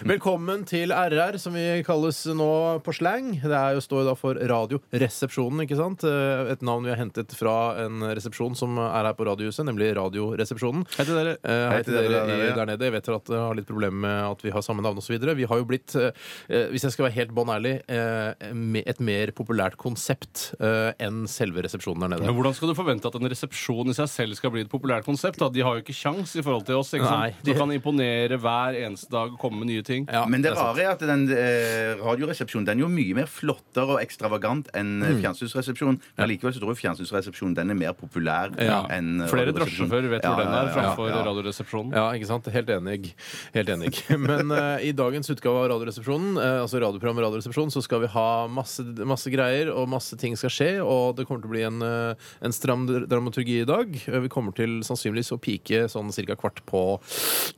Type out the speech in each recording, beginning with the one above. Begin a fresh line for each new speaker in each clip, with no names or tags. Mm. Velkommen til RR, som vi kalles nå på slang. Det er jo, står jo da for Radioresepsjonen, ikke sant? Eh, Et navn vi har hentet fra en resepsjon som er her på Radiohuset, nemlig Radioresepsjonen.
Hei til dere.
Eh, Hei til dere
der
i-
nede, ja.
der nede. Jeg vet dere at dere har litt problemer med at vi har samme navn osv. Vi har jo blitt, eh, eh, hvis jeg skal være helt bånn ærlig, eh, me- et mer populært konsept eh, enn selve resepsjonen der nede.
Men hvordan skal du forvente at en resepsjon i seg selv skal bli et populært konsept? da? De har jo ikke kjangs i forhold til oss. ikke
Nei,
sant?
de-
De kan imponere hver eneste dag og komme med nye ting.
Ja,
Men det
er sant.
rare er at den eh, radioresepsjonen Den er jo mye mer flottere og ekstravagant enn
Mm.
eh, fjernsynsresepsjonen. Men likevel så tror jeg fjernsynsresepsjonen den er mer populær
Ja.
enn eh,
Flere
radioresepsjonen.
drosjesjåfører vet hvor
Ja,
den
ja,
er,
ja,
framfor
ja.
Radioresepsjonen.
Ja, ikke sant? Helt enig. Helt enig. Men eh, i dagens utgave av Radioresepsjonen, eh, altså radioprogrammet Radioresepsjonen, så skal vi ha masse, masse greier, og masse ting skal skje, og det kommer til å bli en, eh, en stram dr- dramaturgi i dag. Eh, Vi kommer til sannsynligvis å pike sånn cirka kvart på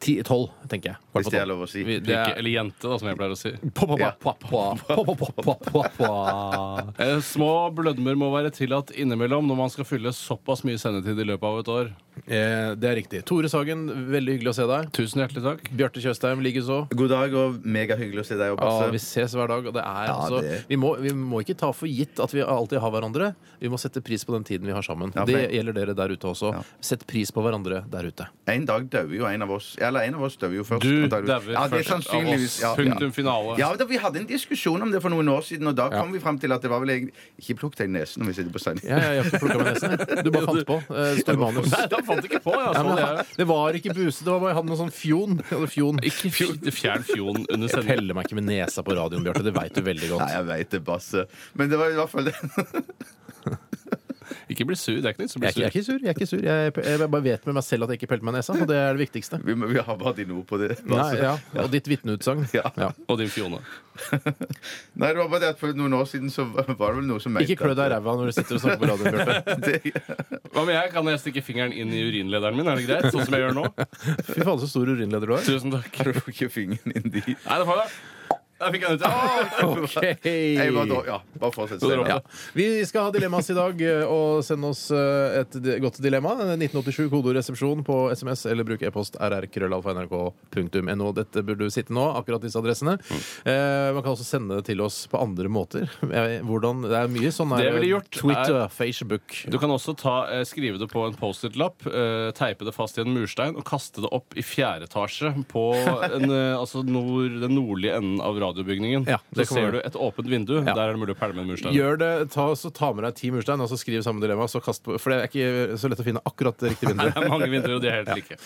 ti, tolv, tenker jeg. Kvart
Hvis
på
det er
tolv.
lov å si.
Vi- det
Pike,
er-
eller jente, da, som jeg pleier å si.
Pop, pop,
Ja.
pop, pop, pop, pop, pop, pop, pop, pop.
Eh, Små blødmer må være tillatt innimellom når man skal fylle såpass mye sendetid i løpet av et år.
Eh, Det er riktig. Tore Sagen, veldig hyggelig å se deg.
Tusen hjertelig takk.
Bjarte Tjøstheim likeså.
God dag og megahyggelig å se deg og
Ja, vi
Basse.
ses hver dag. Og det er,
Altså, Ja,
altså,
det-
Vi, må, vi må ikke ta for gitt at vi alltid har hverandre. Vi må sette pris på den tiden vi har sammen.
Ja, for-
Det gjelder dere der ute også.
Ja.
Sett pris på hverandre der ute.
En dag dauer jo en av oss. Eller en av oss dauer jo først.
Du
antageligvis.
dauer
ja, det er
først av oss.
sannsynligvis. Ja, ja.
Punktum finale.
Ja, da, Vi hadde en diskusjon om det for noen år siden, og da kom vi frem til at det var vel egentlig Ikke plukk deg i nesen når vi sitter på sending.
Ja, ja, jeg har ikke plukket meg nesen. jeg. Du bare fant på. sånn, eh, det Står i manus.
Nei, da fant ikke på! Sånn, Jeg,
Nei,
så
men
det
jeg- det var ikke buse, det var bare jeg hadde noe sånn fjon. Jeg hadde fjon.
er- Ikke fj- fjern fjon under
Jeg
sending.
peller meg ikke med nesa på radioen, Bjarte. Det veit du veldig
Nei,
godt.
jeg veit det, Basse. Men det var i hvert fall det.
Ikke bli sur. Det er ikke nytt som
Jeg
blir
er, ikke, jeg er
sur.
ikke sur. Jeg er ikke sur Jeg, jeg bare vet med meg selv at jeg ikke pelte meg i nesa, og det er det viktigste.
Vi, vi har bare dine ord på det.
Nei,
Basse.
ja. Og ditt vitneutsagn.
Ja.
Ja.
Og din Fione.
Nei, det var bare det at for noen år siden så var det vel noe som mente
Ikke klø deg i
at-
ræva når du sitter og snakker på radioen, Bjarte.
Det-
Hva med jeg? Kan jeg stikke fingeren inn i urinlederen min? Er det greit? Sånn som jeg gjør nå?
Fy faen, så stor urinleder du er.
Tusen takk.
Du får ikke fingeren inn dit.
Nei, det får jeg. Der fikk jeg den ut. ja.
Jeg var da, ja, bare fortsett. Steinar.
Ja. Vi skal ha dilemmas i dag, og send oss eh, et di- godt dilemma. 1987 kodoresepsjon på SMS, eller bruk e-post rrkrøllalfa.nrk.no. Dette burde du sitte nå, akkurat disse adressene. Eh, man kan også sende det til oss på andre måter. Jeg- Hvordan, det er mye sånn her,
Det jeg ville gjort
Twitter, Facebook
Du kan også ta, eh, skrive det på en Post-It-lapp, eh, teipe det fast i en murstein og kaste det opp i fjerde etasje på en, eh, altså nord, den nordlige enden av radiobygningen.
Ja,
så
det kan
ser
man
du et åpent vindu.
Ja.
Der er det mulig å pælme en murstein.
Gjør det, ta, så ta med deg ti murstein og så skriv samme dilemma. Så kast på, for det er ikke så lett å finne akkurat det riktige vinduet.
Det er mange vinduer, og de er helt like.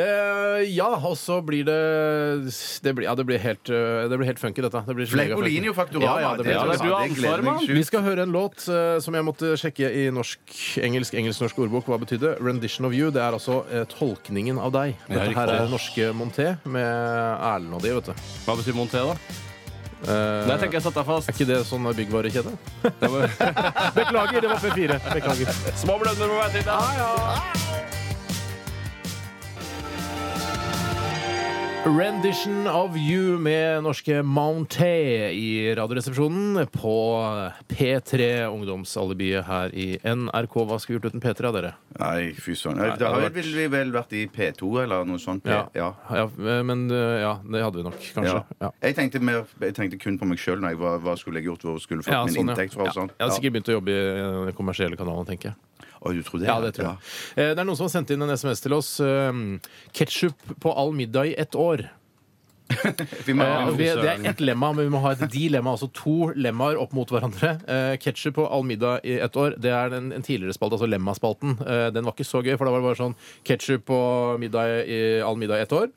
Eh, ja, og så blir det det blir, Ja, det blir helt, eh, det blir helt funky, dette. Det blir så
Fleip
mega
og
funky.
Linje Faktorama.
Ja, ja, det blir,
Ja, det er du har ansvaret,
gleder jeg meg
mann.
sjukt.
Vi skal høre en låt eh, som jeg måtte sjekke i norsk, engelsk, engelsk-norsk ordbok. Hva betydde? Rendition of you. Det er altså eh, tolkningen av deg.
Ja,
Dette her
riktig.
er norske Monté med Erlend og de, vet du.
Hva betyr monté, da?
Eh,
Nei, tenker jeg satt deg
er
fast.
ikke det sånn byggvarekjede?
Det var-
Beklager, det var P4. Beklager.
Små blødmer på vei til deg.
Rendition of you med norske Mounté i Radioresepsjonen på P3, ungdomsalibiet her i NRK. Hva skulle vi gjort uten P3 av dere?
Nei, fy søren. Nei,
det
Da
har
har
vært-
vi vel, vel vært i P2 eller noe sånt. ja.
ja. Men eh, ja, det hadde vi nok,
Ja.
kanskje. Ja.
Jeg, tenkte mer, jeg tenkte kun på meg sjøl når jeg var, hva skulle jeg gjort, hvor skulle jeg fått
Ja,
min
sånn, ja.
inntekt fra og sånt.
Jeg hadde sikkert begynt å jobbe i eh, den kommersielle kanalen, tenker jeg.
Å, du tror det?
Ja, det tror jeg. Eh, Det er noen som har sendt inn en SMS til oss. Ketsjup på all middag i ett år.
Ja. Vi må,
Eh,
ja,
vi, det er ett lemma, men vi må ha et dilemma. Altså to lemmaer opp mot hverandre. Eh, Ketsjup og all middag i ett år, det er en, en tidligere spalte, altså lemmaspalten. Eh, den var ikke så gøy, for da var det bare sånn ketsjup og middag i, all middag i ett år.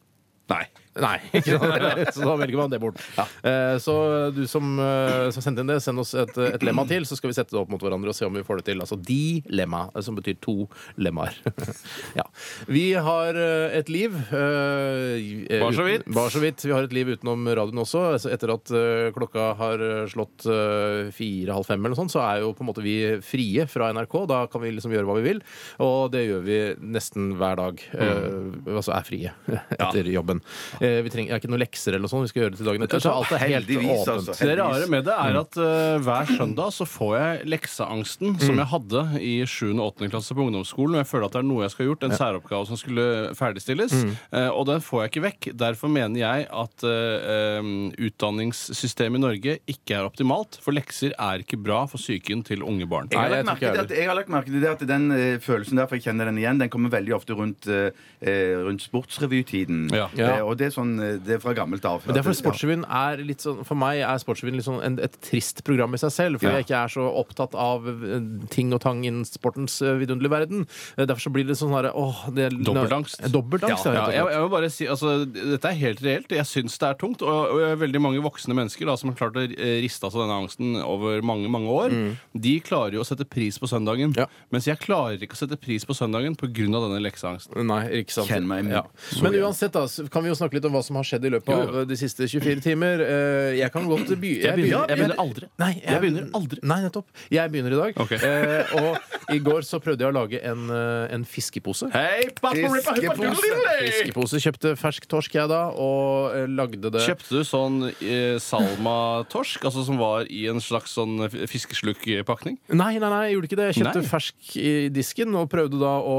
Nei.
Nei. ikke sant? så da velger man det bort. Eh, Så du som, eh, som sendte inn det, send oss et, et lemma til, så skal vi sette det opp mot hverandre og se om vi får det til. Altså de lemma, eh, som betyr to lemmaer. ja. Vi har eh, et liv eh,
Bare så
uten-
vidt.
Bare så vidt. Vi har et liv utenom radioen også. Altså, etter at eh, klokka har slått eh, fire-halv fem, eller noe sånt, så er jo på en måte vi frie fra NRK. Da kan vi liksom gjøre hva vi vil, og det gjør vi nesten hver dag. eh, Altså er frie etter jobben. Eh, Eh, Vi trenger, det er ikke noen lekser eller noe sånt. Vi skal gjøre det til dagen etter. Så alt er helt
Heldigvis,
åpent.
altså.
Det
Heldigvis.
rare med det er at eh, hver søndag så får jeg lekseangsten som jeg hadde i 7. og 8. klasse på ungdomsskolen. Og jeg føler at det er noe jeg skal ha gjort, en særoppgave som skulle ferdigstilles. eh, og den får jeg ikke vekk. Derfor mener jeg at eh, em, utdanningssystemet i Norge ikke er optimalt. For lekser er ikke bra for psyken til unge barn.
Nei, jeg
Jeg har, lagt
tror
merke
ikke jeg
til at, jeg har lagt merke til det at den eh, følelsen der, for jeg kjenner den igjen, den kommer veldig ofte rundt, eh, eh, rundt sportsrevytiden.
Ja.
Ja.
Eh, og det er, sånn, eh, det er fra gammelt av.
Men det er fordi Sportsrevyen er litt sånn For meg er Sportsrevyen litt sånn en, et trist program i seg selv, fordi
Ja.
jeg ikke er så opptatt av eh, ting og tang innen sportens eh, vidunderlige verden. Eh, Derfor så blir det sånn herre åh det er-
Dobbeltangst.
Dobbeltangst,
Ja,
ja.
jeg,
helt
jeg vil bare si, altså, Dette er helt reelt. Jeg syns det er tungt. Og, og jeg har veldig mange voksne mennesker da, som har klart å eh, riste av seg denne angsten over mange mange år, de klarer jo å sette pris på søndagen.
Mm. Ja.
Mens jeg klarer ikke å sette pris på søndagen pga. denne lekseangsten.
Nei, ikke sant.
Kjenn meg.
Ja.
Så
Men
igjen.
uansett da, så kan vi jo snakke litt om hva som har skjedd i løpet
Jo, jo.
av eh, de siste 24 timer. Eh, Jeg kan godt begynne.
Jeg begynner- jeg begynner aldri.
Nei,
Jeg begynner aldri.
Nei, nettopp. Jeg begynner i dag.
Ok.
Eh, Og i går så prøvde jeg å lage en, eh, en fiskepose.
Hei, pappa, rippa, hippa,
Fiskepose.
doodle-diddle-day!
Fiskepose. Kjøpte fersk torsk, jeg da, og eh, lagde det
Kjøpte du sånn eh, Salma-torsk, altså som var i en slags sånn eh, fiskeslukkpakning?
Nei, nei, nei, jeg gjorde ikke det. Jeg kjøpte
Nei.
fersk i disken og prøvde da å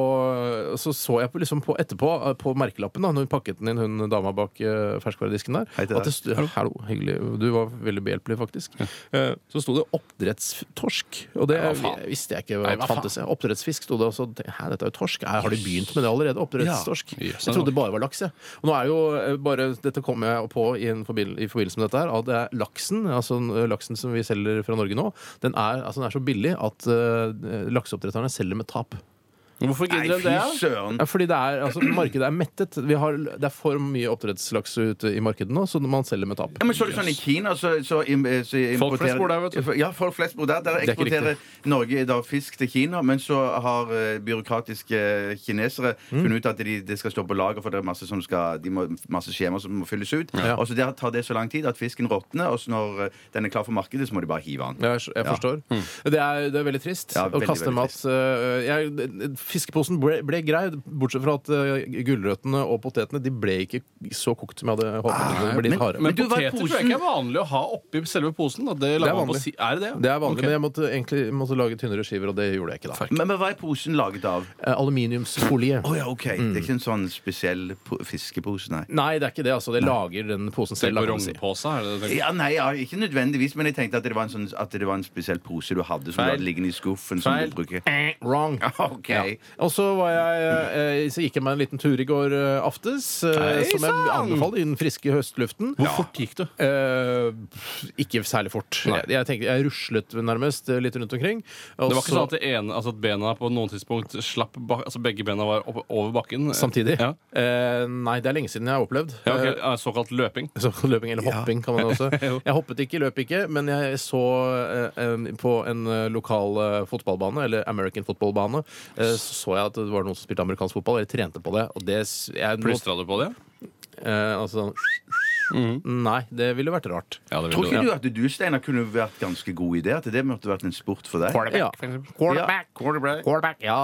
Så så jeg på, liksom på etterpå, eh, på merkelappen, da, når hun pakket den inn, hun dama bak eh, ferskvaredisken der
Hei til deg.
at det sto, Hallo, hyggelig. Du var veldig behjelpelig, faktisk. Eh, Så sto det oppdrettstorsk. Og det
Nei, hva faen?
visste jeg ikke
Nei,
hva
hva faen?
fantes. jeg. Oppdrettsfisk sto det, og så tenkte jeg, hæ, dette er jo torsk. Hæ, Har de begynt med det allerede? Oppdrettstorsk.
Ja. Jøss,
Jeg trodde det bare var laks, jeg. Og nå er jo eh, bare Dette kom jeg på i, en forbil- i forbindelse med dette her, at det er laksen, altså eh, laksen som vi selger fra Norge nå, den er, altså, den er så billig at eh, lakseoppdretterne selger med tap.
Hvorfor
Nei,
gidder de
fy
det? da?
søren!
Ja, fordi det er, altså, Markedet er mettet. Vi har, det er for mye oppdrettslaks ute i markedet nå, så man selger med tap.
Ja, men så er det sånn I Kina så, så, im, eh, så importerer
Folk flest bor der, vet du.
Ja, folk flest bor der. Der
Det er ikke
eksporterer Norge i dag fisk til Kina, men så har eh, byråkratiske kinesere
Mm.
funnet ut at de, det skal stå på lager, for det er masse, som skal, de må, masse skjemaer som må fylles ut.
Ja.
Og så der tar det så lang tid at fisken råtner, og så når eh, den er klar for markedet, så må de bare hive den.
Ja, Jeg, jeg
Ja. Mm.
forstår. Det, er, det er veldig trist
Ja,
å
veldig,
kaste
veldig
mat.
trist.
øh, Jeg, fiskeposen ble, ble grei, bortsett fra at øh, gulrøttene og potetene De ble ikke så kokt som jeg hadde håpet.
Ah,
de ble litt harde.
Men
du, hva er
poteter tror jeg
posen?
ikke er vanlig å ha oppi selve posen. da. Det,
Det er
lager man på
vanlig.
si er det det?
det er vanlig,
Ok.
men jeg måtte egentlig måtte lage tynnere skiver, og det gjorde jeg ikke. da
Fuck.
Men, men hva er posen laget av?
Eh, Aluminiumsfolie.
Å ja, OK. Det er ikke en sånn spesiell po fiskepose, nei.
Nei, det er ikke det. altså Det lager den posen selv. da, kan du si.
Selvorongpose, er det det?
Ja, nei, ja, Ikke nødvendigvis, men jeg tenkte at det var en, sånn, at det var en spesiell pose du hadde som du
Feil.
hadde liggende i skuffen. Som
Feil.
du bruker.
Wrong.
OK.
Ja. Og så, var jeg, eh, så gikk jeg meg en liten tur i går eh, aftes, eh,
Hei,
som jeg
sann!
anbefaler i den friske høstluften.
Hvor fort gikk du?
Eh, pff, ikke særlig fort.
Nei.
Jeg, jeg, tenkte, jeg ruslet nærmest eh, litt rundt omkring. og
Det var ikke
så-
sånn at, det ene, altså at bena på noen tidspunkt slapp bak, altså Begge bena var opp, over bakken?
Samtidig?
Ja.
Eh, nei, det er lenge siden jeg har opplevd.
Ja, ok.
Eh,
Ja, Såkalt løping?
så løping eller hopping, kan man også.
Jo.
Jeg hoppet ikke, løp ikke, men jeg så eh, en- på en eh, lokal eh, fotballbane, eller American footballbane, eh, så så jeg at det var noen som spilte amerikansk fotball, eller trente på det. Og det s- jeg, nå,
Plystra du på det?
eh, altså, Nei, det ville vært rart.
Ja, det
Tror
ville
ikke
du.
du at du, Steinar, kunne vært ganske god i det? At det måtte vært en sport for deg?
Ja.
Quarterback.
Quarterback. Ja,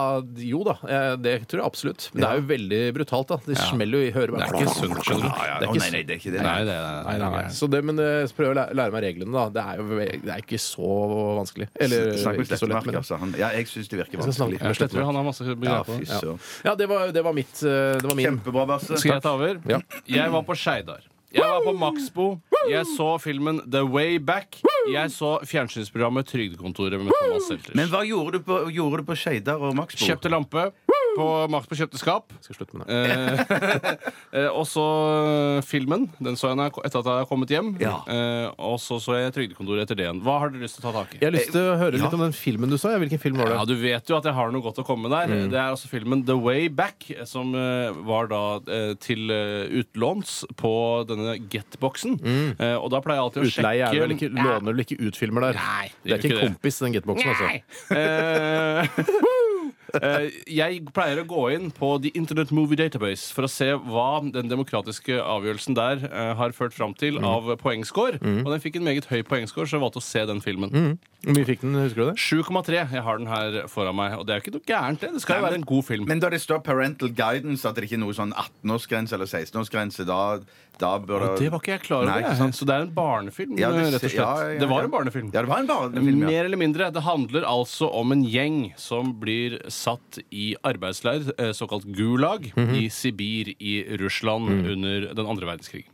jo da. eh, Det tror jeg absolutt. Men det er jo veldig brutalt, da. Det smeller jo i høret.
Det er ikke sunt, skjønner du.
Ja, ja.
Det er
Å,
ikke
nei,
sunt.
nei, det er ikke det.
Nei, det er
Nei, nei, nei. Så det, men eh, så prøv å lære, lære meg reglene, da. Det er jo ve- det er ikke så vanskelig. Eller
Snakk med
ikke så lett,
Slettemark,
men
altså. Han, ja, jeg syns det virker
Jeg skal snakke
vanskelig.
med
Jeg tror han har masse
Ja,
begreper på
fy
det.
ja.
søren.
ja, det var, det var mitt. eh, Det var min.
Kjempebra, Basse.
Skal jeg ta over?
Ja.
Jeg var på Skeidar. Jeg var på Maxbo. Jeg så filmen The Way Back. Jeg så fjernsynsprogrammet Trygdekontoret med Thomas Seltzer.
Men hva gjorde du på, gjorde du på Skeidar og Maxbo?
Kjøpte lampe. På Maxbo kjøpte skap.
Skal slutte med det.
Eh, eh, og så eh, filmen. Den så jeg når jeg ko- etter at jeg hadde kommet hjem.
Ja.
Eh, og så så jeg Trygdekontoret etter det igjen. Hva har dere lyst til å ta tak i?
Jeg har lyst til å høre litt om den filmen du så. Ja, hvilken film var det?
Ja, Du vet jo at jeg har noe godt å komme med
Mm.
der. Det er altså filmen The Way Back, som eh, var da eh, til eh, utlåns på denne Get-boksen. Eh, og da pleier jeg alltid å
Mm. Utleie er
sjekke
vel ikke, låner vel ikke ut filmer der?
Nei,
det er
gjør
ikke
ikke
en kompis, den getboxen, altså.
Eh, eh, jeg pleier å gå inn på The Internet Movie Database for å se hva den demokratiske avgjørelsen der
Mm. Mm.
eh, har ført fram til av poengscore. Og den fikk en meget høy poengscore, så jeg valgte å se den filmen.
Hvor mye fikk den, husker du det?
7,3. Jeg har den her foran meg. Og det er jo ikke noe gærent, det. Det skal jo
Nei,
være en god film.
Men da det står parental guidance, at det ikke er noe sånn 18-årsgrense eller 16-årsgrense, da, da bør
Og det var ikke jeg klar
Nei,
over.
ikke
jeg.
sant?
Så det er en barnefilm,
Ja, det-
rett og slett.
ja, ja, ja.
Det var en barnefilm.
Ja, det var en barnefilm, ja.
Mer eller mindre. Det handler altså om en gjeng som blir satt i arbeidsleir, eh, såkalt gulag,
Mhm.
i Sibir i Russland under den andre verdenskrigen.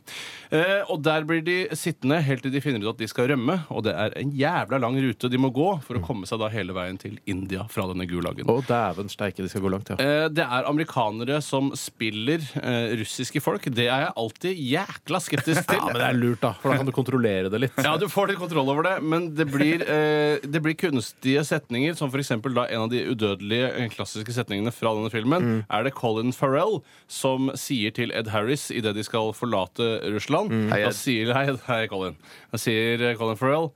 Eh, Og der blir de sittende helt til de finner ut at de skal rømme, og det er en jævla lang rute de må gå
Mm.
for å komme seg da hele veien til India fra denne gulagen.
Å, dæven steike, det skal gå langt, ja.
Eh, Det er amerikanere som spiller eh, russiske folk. Det er jeg alltid jækla skeptisk til.
Ja, men det er lurt, da, for da kan du kontrollere det litt.
Ja, du får litt kontroll over det, men det blir, eh, det blir kunstige setninger, som for eksempel da en av de udødelige eh, klassiske setningene fra denne filmen,
Mm.
er det Colin Farrell som sier til Ed Harris idet de skal forlate Russland.
Mm.
Hei,
Da
Ed.
sier hei, hei, Colin. Da sier eh, Colin Farrell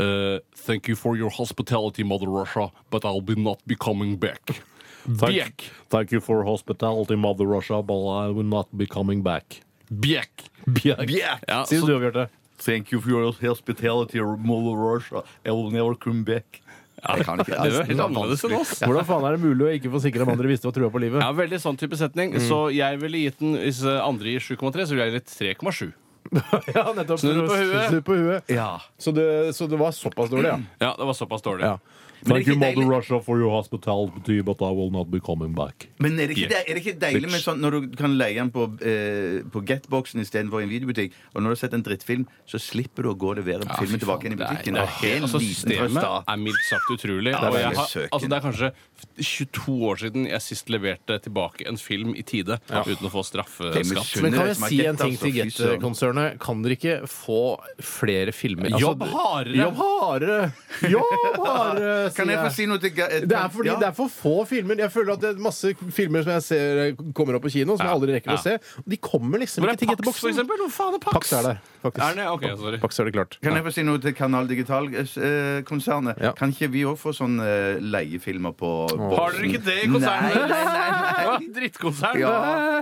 «Eh, thank you for your hospitality, Mother Russia, but I'll be not be coming back. Bjekk!
you for hospitality, mother Russia, but I will not be coming back.
Bjekk!
Bjerk.
Bjerk.
Ja,
Si det
så-
du, Bjarte.
Thank you for your hospitality, Mother Russia. I will never come back. Jeg kan ikke.
Det er jo helt annerledes enn oss.
Hvordan faen er det mulig å ikke få sikre om andre visste hva trua på livet?
Ja, veldig sånn type
Mm.
setning. Så jeg ville gitt den, hvis eh, andre gir 7,3, så ville jeg gitt 3,7.
Ja, nettopp.
Snu det på huet.
Snu på huet.
Ja.
Så, det, så det var såpass dårlig, ja.
Ja, det var såpass dårlig.
ja.
Men det er ikke deilig-
Russia, for your hospitality, but I will not be coming back.
Men er det ikke, de- er det ikke deilig med sånn når du kan leie den på, eh, på Get-boksen istedenfor i en videobutikk, og når du har sett en drittfilm, så slipper du å gå og levere filmen tilbake igjen i butikken?
Det er, det er helt, altså,
trøst,
systemet
da.
er mildt sagt utrolig.
det er
og jeg
veldig
har,
søkende.
altså, det er kanskje 22 år siden jeg sist leverte tilbake en film i tide uten å få
Det er
straffeskatt.
misunnelig.
Men kan jeg
Som er
si
Get,
en ting
altså,
til
fy søren.
Get-konsernet? Kan dere ikke få flere filmer? Altså,
Jobb
det-
hardere.
Jobb hardere! Jobb hardere,
Kan jeg
sier
få si noe til Ga- eh,
Det er fordi
ja.
det er for få filmer. Jeg føler at det er masse filmer som jeg ser eh, kommer opp på kino, som jeg aldri rekker
Ja.
å se. Og de kommer liksom ikke
Hvor er
til
Pax,
Get-boksen.
for eksempel? Hvor faen er Pax?
Pax er der, faktisk.
Er det? Ok, sorry.
Pax er det klart.
Kan jeg få si noe til Kanal eh, Digital-konsernet?
Ja.
Kan ikke vi òg få sånne eh, leiefilmer på boksen?
Har dere ikke det i konsernet?
Nei, nei, nei, nei.
Ja, Drittkonsern!
Ja.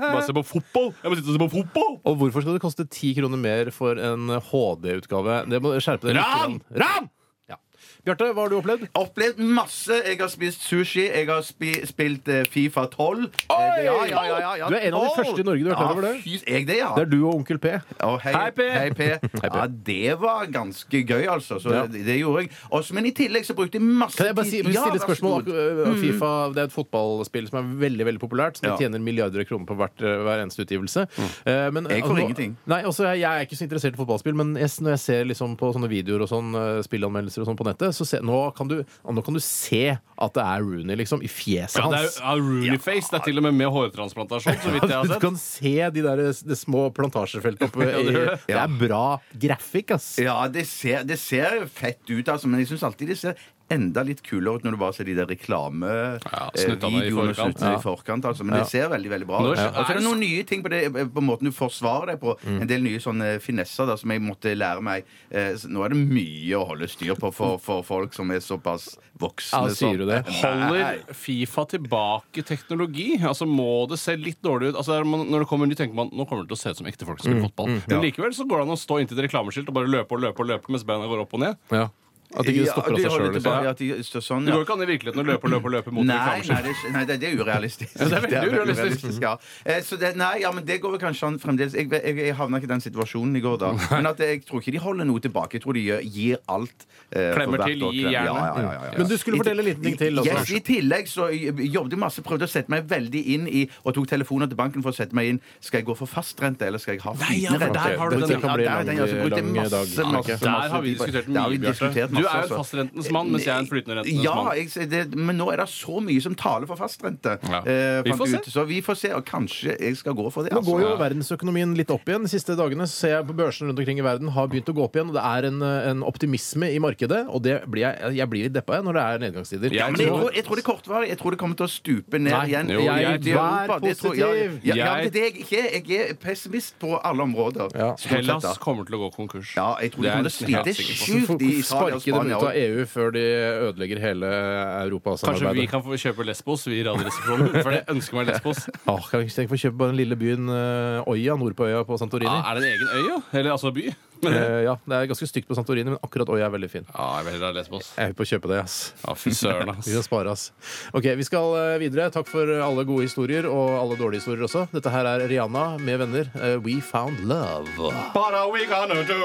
Bare se på fotball! Jeg må sitte og se på fotball!
Og hvorfor skal det koste ti kroner mer for en HD-utgave? Det må skjerpe deg litt.
Ran!
grann. Ran! Ja. Bjarte, hva har du opplevd?
Opplevd masse. Jeg har spist sushi. Jeg har spi spilt eh, Fifa 12. Eh, det-
Du er en av de
12.
første i Norge, du er klar
Ja,
over det?
fy- Jeg det, ja.
Det er du og onkel P.
Å, hei,
Hei, P.
Hei, P. Ja, det var ganske gøy, altså. Så
Ja.
det, det gjorde jeg. Også, men i tillegg så brukte jeg masse
Kan jeg bare si,
tid- Ja,
stille et
vær så
spørsmål?
god. Mm.
Eh, Fifa det er et fotballspill som er veldig veldig populært. Som
Ja. Mm.
tjener milliarder av kroner på hvert, eh, hver eneste utgivelse. Eh, men,
Jeg får
altså, nå-
ingenting.
Nei, også, jeg, jeg er ikke så interessert i fotballspill, men jeg, når jeg ser liksom, på sånne videoer og sånn, eh, spillanmeldelser og sånn på nettet, så se, nå, kan du, nå kan du se at det er Rooney liksom, i fjeset
Ja, det er
hans.
ja, Rooney-face. Det er til og med med hårtransplantasjon, så vidt jeg har
Du
sett.
kan se de der de små plantasjefeltene oppe.
Ja, det
i-
gjør
det.
det.
er bra grafikk, ass.
Ja, det ser, det ser fett ut, altså, men jeg syns alltid det ser enda litt kulere ut når du bare ser de der eh,
Ja, snuttene i
reklamevideoene
forkant.
i forkant. Altså, men det ser veldig veldig bra
Nå
ut.
er-
Og så er det noen nye ting på, det, eh, på måten du forsvarer deg på.
Mm.
En del nye sånne finesser da, som jeg måtte lære meg. Eh, så Nå er det mye å holde styr på for, for folk som er såpass voksne.
Ja, sier du det?
Nei.
Holder Fifa tilbake teknologi? Altså Må det se litt dårlig ut? Altså er man, Når det kommer ny, tenker man nå kommer det til å se ut som ekte folk som
Mm,
spiller fotball. Men likevel så går det an å stå inntil et reklameskilt og bare løpe og løpe og løpe mens beina går opp og ned.
Ja. At ikke det stopper av
de
seg
holder
sjøl. Liksom.
tilbake, at de står sånn,
Det
ja.
går ikke an i virkeligheten å løpe og løpe og løpe mot et
Nei, nei,
reklameskilt.
det, er- nei det, det er urealistisk.
det er veldig urealistisk.
ja. Eh, så det, nei, ja, men det går vel kanskje an fremdeles. Jeg, jeg, jeg havna ikke i den situasjonen i går, da. Men at eh, jeg tror ikke de holder noe tilbake. Jeg tror de gjør, gir alt. eh,
Klemmer
for hvert
til,
år.
gir jernet.
Ja, ja, ja, ja, ja.
Men du skulle fortelle en liten ting til. altså. også.
Yes, I tillegg så jobbet jeg masse, prøvde å sette meg veldig inn i Og tok telefoner til banken for å sette meg inn. Skal jeg gå for fastrente, eller skal jeg ha
Nei, ja,
flytende
for
rente?
der har du den-
Ja, der er den, ja, så brukte jeg
lang
masse,
dag.
masse, masse,
Der har vi
tid på-
diskutert
Der har
mye,
vi
Bjarte.
diskutert
Du er jo
masse,
en
altså. eh,
fastrentens mann, mens jeg er en flytende rentens
Ja,
mann.
jeg, det, men nå er det så mye som taler for fastrente.
Ja.
eh,
Vi
fant
får
jeg ut.
se.
Så vi får se. Og kanskje jeg skal gå for det.
Nå
altså.
går jo verdensøkonomien litt opp igjen. De siste dagene så ser jeg på børsene rundt omkring i verden har begynt å gå opp igjen. og Det er en, en optimisme i markedet, og det blir jeg, jeg blir litt deppa jeg, når det er nedgangstider.
Ja,
Men jeg tror, jeg tror det er kortvarig. Jeg tror det kommer til å stupe ned
Nei,
igjen.
jo,
i-
jeg-
i Europa.
vær
Det tror- ja,
positiv.
Ja, ja, men
Jeg-
det er jeg ikke. Jeg er pessimist på alle områder.
Ja.
stort sett,
Hellas
da.
kommer til å gå konkurs.
Ja, jeg tror det
er
kommer
nesten
til å
helt
slite
sikkert.
Hvorfor
sjukt i Italia og
Sparke dem
Spania.
ut av
også.
EU før de ødelegger hele
Kanskje vi
europasamarbeidet.
kan få kjøpe Lesbos, vi i Radioresepsjonen. For jeg ønsker meg Lesbos.
Åh, kan vi ikke tenke på å kjøpe bare den lille byen eh, Øya nord på øya på Santorini?
Ja, er det en egen øy, ja? Eller altså by?
Eh, ja, Det er ganske stygt på Santorini, men akkurat Oi er veldig fin.
Ja, jeg vil heller ha lesbos.
Jeg er på å kjøpe det, ass.
Ja, fy søren, ass.
Vi skal spare, ass. Ok, vi skal eh, videre. Takk for alle gode historier, og alle dårlige historier også. Dette her er Rihanna med venner. eh, We Found Love.
What are we gonna do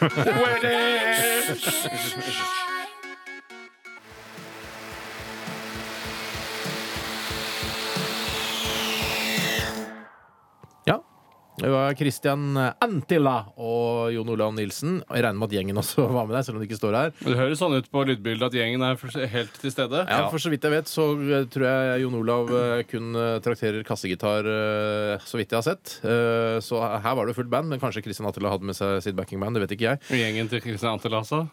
with it?
Ja. Det var Christian Antilla og Jon Olav Nilsen. Og Jeg regner med at gjengen også var med deg, selv om de ikke står her.
Det høres sånn ut på lydbildet at gjengen er for- helt til stede.
Ja, For så vidt jeg vet, så eh, tror jeg Jon Olav eh, kun eh, trakterer kassegitar, eh, så vidt jeg har sett. Eh, Så her var det jo fullt band, men kanskje Christian Antilla hadde med seg sitt backingband. Det vet ikke jeg.
Og Gjengen til Christian Antila, altså.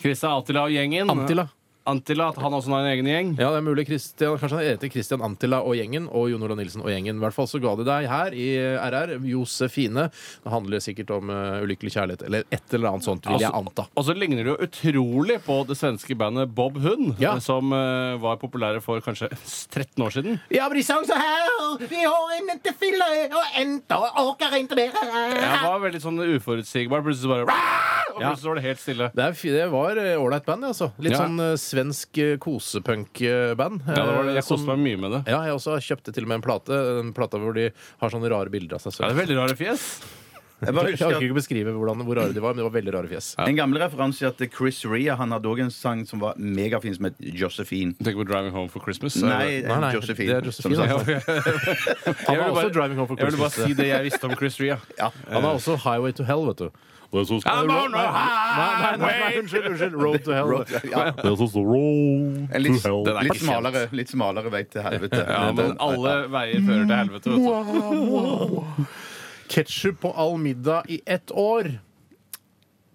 Christian Antila og gjengen.
Antilla.
Antila, at han også har en egen gjeng.
Ja, det er mulig. Christian, kanskje han heter Christian Antilla og gjengen, og Jon Olav Nilsen og gjengen. I hvert fall så ga de deg her i RR Josefine. Det handler sikkert om eh, ulykkelig kjærlighet, eller et eller annet sånt, vil jeg
Altså-
anta.
Og så ligner det jo utrolig på det svenske bandet Bob Hund,
Ja.
som eh, var populære for kanskje 13 år siden.
Jeg blir sånn så her, vi har en til fille, og enda orker ikke mer.
Jeg var veldig sånn uforutsigbar. Plutselig bare Og plutselig var det helt stille.
Det, er, fi- det var eh, ålreit band, altså. Litt
Ja.
sånn eh, svensk eh, kosepunk-band. eh,
Ja, det var det. Jeg koste meg mye med det.
Ja, jeg også kjøpte til og med en plate En plate hvor de har sånne rare bilder av seg
Ja, det
selv.
er veldig rare fjes.
Jeg bare
Jeg
husker
orker
at
ikke beskrive hvordan, hvor rare de var, men det var veldig rare fjes.
en gammel referanse er at Chris Rea han hadde òg en sang som var megafin, som het Josephine.
Du tenker på 'Driving Home for Christmas'?
Nei,
Nei, nei,
Josephine.
det er Josephine,
som
altså.
sagt.
Han var
ville
også
bare-
driving home for
Jeg ville bare
Christmas.
si det jeg visste om Chris Rea.
Han har også Highway to Hell, vet du. Det er så-
I'm on a
Ah, Nei, nei, nei, nei,
highway.
unnskyld, unnskyld. Road to Hell.
Road- ja.
Det er så- så road
En
to
litt,
hell.
Den er
litt,
ikke kjent.
smalere, litt smalere vei til helvete.
Ja, men alle veier fører til helvete. Vet du.
Ketchup på all middag i ett år.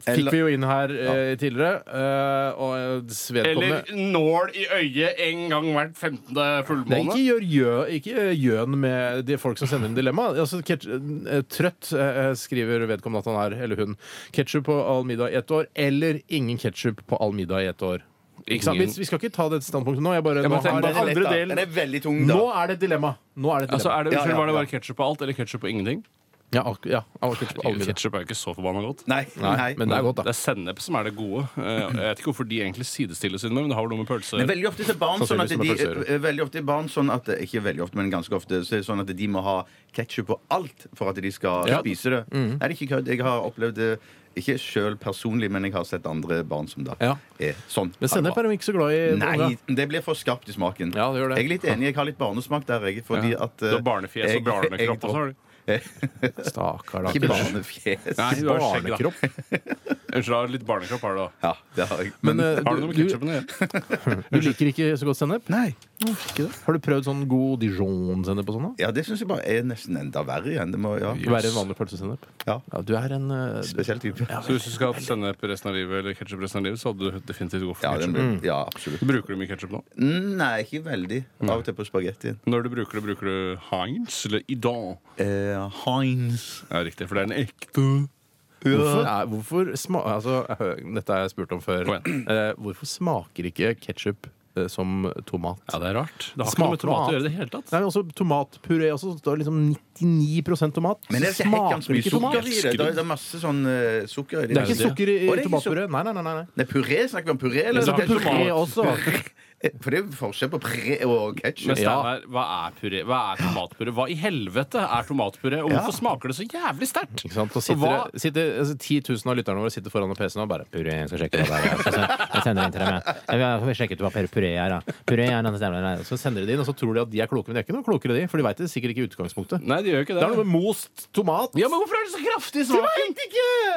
Fikk
Eller-
vi jo inn her eh, tidligere. Eh, og eh, vedkommende
Eller nål i øyet en gang hvert 15.
Nei, ikke
fullmåne.
gjør gjø, ikke gjør gjøn med de folk som sender inn dilemma. Altså, ketch- eh, trøtt eh, skriver vedkommende at han er, eller hun. Ketsjup på all middag i ett år, eller ingen ketsjup på all middag i ett år. Ikke sant? Vi, vi skal ikke ta det standpunktet nå. Jeg bare,
Jeg
nå,
bare tenker-
har jeg
Den er lett,
andre
da. Den
delen.
er veldig tung, da.
nå er det et dilemma. Nå er det et
Altså,
dilemma.
er det,
Ja,
unnskyld,
ja,
Var det
ja.
bare ketsjup på alt, eller ketsjup på ingenting?
Ja, ak- ja, all ketchup på all middag.
Ketsjup er jo ikke så forbanna godt.
Nei, nei.
Nei, men det er godt,
Det
da.
er sennep som er det gode. Eh, Jeg vet ikke hvorfor de egentlig sidestilles sine, men det har vel noe med pølse å
Men
gjøre.
veldig ofte så er barn sånn at de,
Sannsynligvis som en
eh, veldig ofte er barn sånn at Ikke veldig ofte, men ganske ofte Så er det sånn at de må ha ketsjup på alt for at de skal
Ja.
spise det. Er det ikke kødd? Jeg har opplevd det ikke sjøl personlig, men jeg har sett andre barn som da
Ja.
er sånn.
Men sennep er de ikke så glad i. unga.
Nei, det blir for skarpt i smaken.
Ja, det gjør det.
Jeg er litt enig. Jeg har litt barnesmak der, jeg. Fordi at
Du
eh,
har barnefjes
jeg-
og barnekropp
jeg-
også, har du.
Stakkar,
Ikke
da.
barnefjes.
Nei, du har skjegg, da.
Barnekropp.
Unnskyld, du har litt barnekropp har du da.
Ja, det har jeg.
Men
Men,
eh,
Har du
du,
noe med
du,
ketsjupen å gjøre?
du liker ikke så godt sennep?
nei.
Har du prøvd sånn god dijon-sennep og sånn? da?
Ja, det syns jeg bare er nesten enda verre igjen. Det må, ja.
Være en vanlig pølsesennep?
Ja.
du er en eh,
Spesiell type.
Så hvis du skal ha sennep resten av livet, eller ketsjup resten av livet, så hadde du definitivt gått for
Ja, den
ketsjup.
blir, ja absolutt.
Bruker du mye ketsjup nå?
Nei, ikke veldig. Av og til på spagettien.
Når du bruker det, bruker du Heinz eller Idan?
Eh, Heinz.
Ja, riktig, for det er en ekte
Hvorfor, er, hvorfor sma altså, hø- Dette har jeg spurt om før.
Kom igjen.
Eh, hvorfor smaker ikke ketsjup som tomat?
Ja, det er rart. Det har ikke
Smaker
noe med tomat
noe
å gjøre i det hele tatt.
Nei, men også Tomatpuré også, så står det liksom 99 tomat.
Men det er ikke hekkans mye sukker i det. Det er- Det er masse sånn eh, sukker i det.
Det er ikke sukker i,
Å, det er
i
ikke
tomatpuré. Nei, nei, nei. nei.
Nei, puré? Snakker vi om puré? Eller?
Det er
tomat?
puré også.
Eh, For det er jo forskjell på puré og
Men
ketsjup.
Steinar, hva er puré? Hva er tomatpuré? Hva i helvete er tomatpuré? Og hvorfor smaker det så jævlig sterkt?
Ikke sant? Så
Og
sitter,
hva-
det- sitter altså, 10 000 av lytterne våre sitter foran PC-en og bare Puré, jeg skal sjekke hva det er. Så jeg sender det inn til dem. jeg. Jeg får sjekket hva puré er. da. Puré er denne stemmen her. Så sender de det inn, og så tror de at de er kloke, men de er ikke noe klokere, de. For de veit det sikkert ikke i utgangspunktet.
Nei, de gjør jo ikke det.
Det er noe med most tomat.
Ja, men hvorfor er det så kraftig smaking?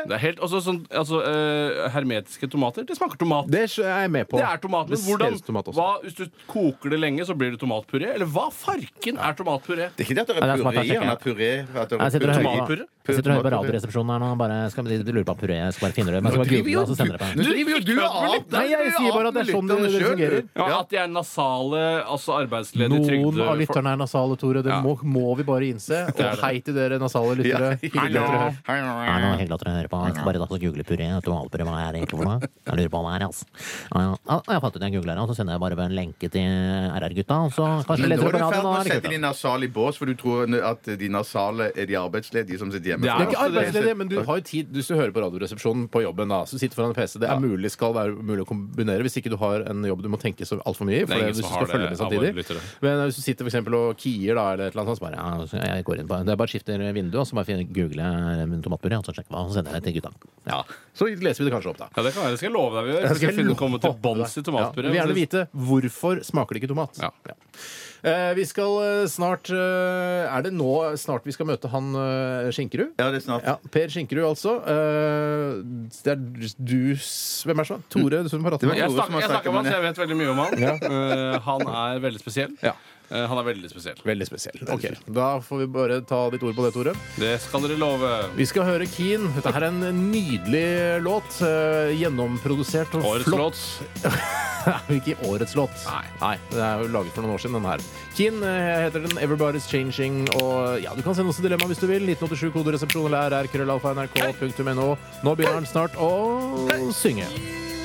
Det er helt, også sånn, altså, eh, hermetiske tomater, det smaker tomat.
Det er jeg med på.
Det er tomat, men
Det
hvordan,
ser ut som tomat også.
hva, hvis du koker det lenge, så blir det tomatpuré? Eller hva farken er tomatpuré?
Det er ikke det at det
Ja, det
er
er smart,
puré.
jeg sjekker.
Han er puré at det er
Jeg sitter og
puré.
hører
Tomatpuré?
på, jeg sitter og hører på Radioresepsjonen her nå. Bare skal de lurer på puré. Jeg skal bare finne det. Jeg skal bare google det, og så sender jeg det på
Nå
dem.
driver jo du
kødder
av
litt.
Nei, jeg sier bare at det er sånn det- det fungerer.
Ja, At de er nasale, altså arbeidsledige
Noen
trygde...
av lytterne er nasale, Tore. Det må, må vi bare innse. Og hei til dere nasale lyttere. Hyggelig at dere hører.
Ja, nå er det hyggelig at dere hører på. Jeg skal bare da så google puré. Tomatpuré, hva er det egentlig for noe? Jeg lurer på hva det er, altså. Ja, ja. Ja, jeg fant ut det. jeg googler det, og så sender jeg bare ved en lenke til RR-gutta, og så
Men
kanskje
nå
leder
er
du
du i
på
ferd med å
radioen.
sette de nasale i bås, for du tror at de nasale er de arbeidsledige som sitter hjemme.
Det er ikke
ofte det.
arbeidsledige, men du har jo tid hvis du hører på Radioresepsjonen på jobben. da, så sitter foran en PC. Det er mulig, skal være mulig å kombinere hvis ikke du har en jobb du må tenke så altfor mye i. for
Det er
det-
ingen
hvis du
som
skal
har
følge med
det av våre
samtidig.
lyttere.
Men hvis du sitter for eksempel og kier da, eller et eller annet sånt, så bare ja, så jeg går inn på Det er bare skifter vindu, og så bare finner- google eh, tomatpuré, og så sjekker hva, og så sender jeg det til gutta. Ja, Så leser vi det kanskje opp, da.
Ja, det kan være. Det skal jeg love deg vi gjør. Vi skal finne komme til bånns i tomatpuré.
Ja, vi vil gjerne vite hvorfor smaker det ikke tomat.
Ja.
Eh, vi skal eh, snart eh, Er det nå snart vi skal møte han eh, Skinkerud?
Ja, det er snart.
Ja, Per Skinkerud, altså. Eh, det er du s- Hvem er det som er? Tore? Du som prater
Det var
med?
Jeg
Tore som
snakker,
har
jeg snakker om han, så jeg vet veldig mye om han. Eh, han er veldig spesiell.
Ja.
Eh, han er veldig spesiell.
Veldig spesiell. Ok, Da får vi bare ta ditt ord på det, Tore.
Det skal dere love.
Vi skal høre Keen. Dette her er en nydelig låt. eh, gjennomprodusert og
Årets
flott.
låt.
Det er jo ikke årets låt.
Nei.
Det er jo laget for noen år siden, den her. Keen eh, heter den. Everybody's Changing. Og ja, du kan sende oss et dilemma hvis du vil. 1987 koderesepsjon eller rr.krøllalfa.nrk.no. Nå begynner han snart å synge.
You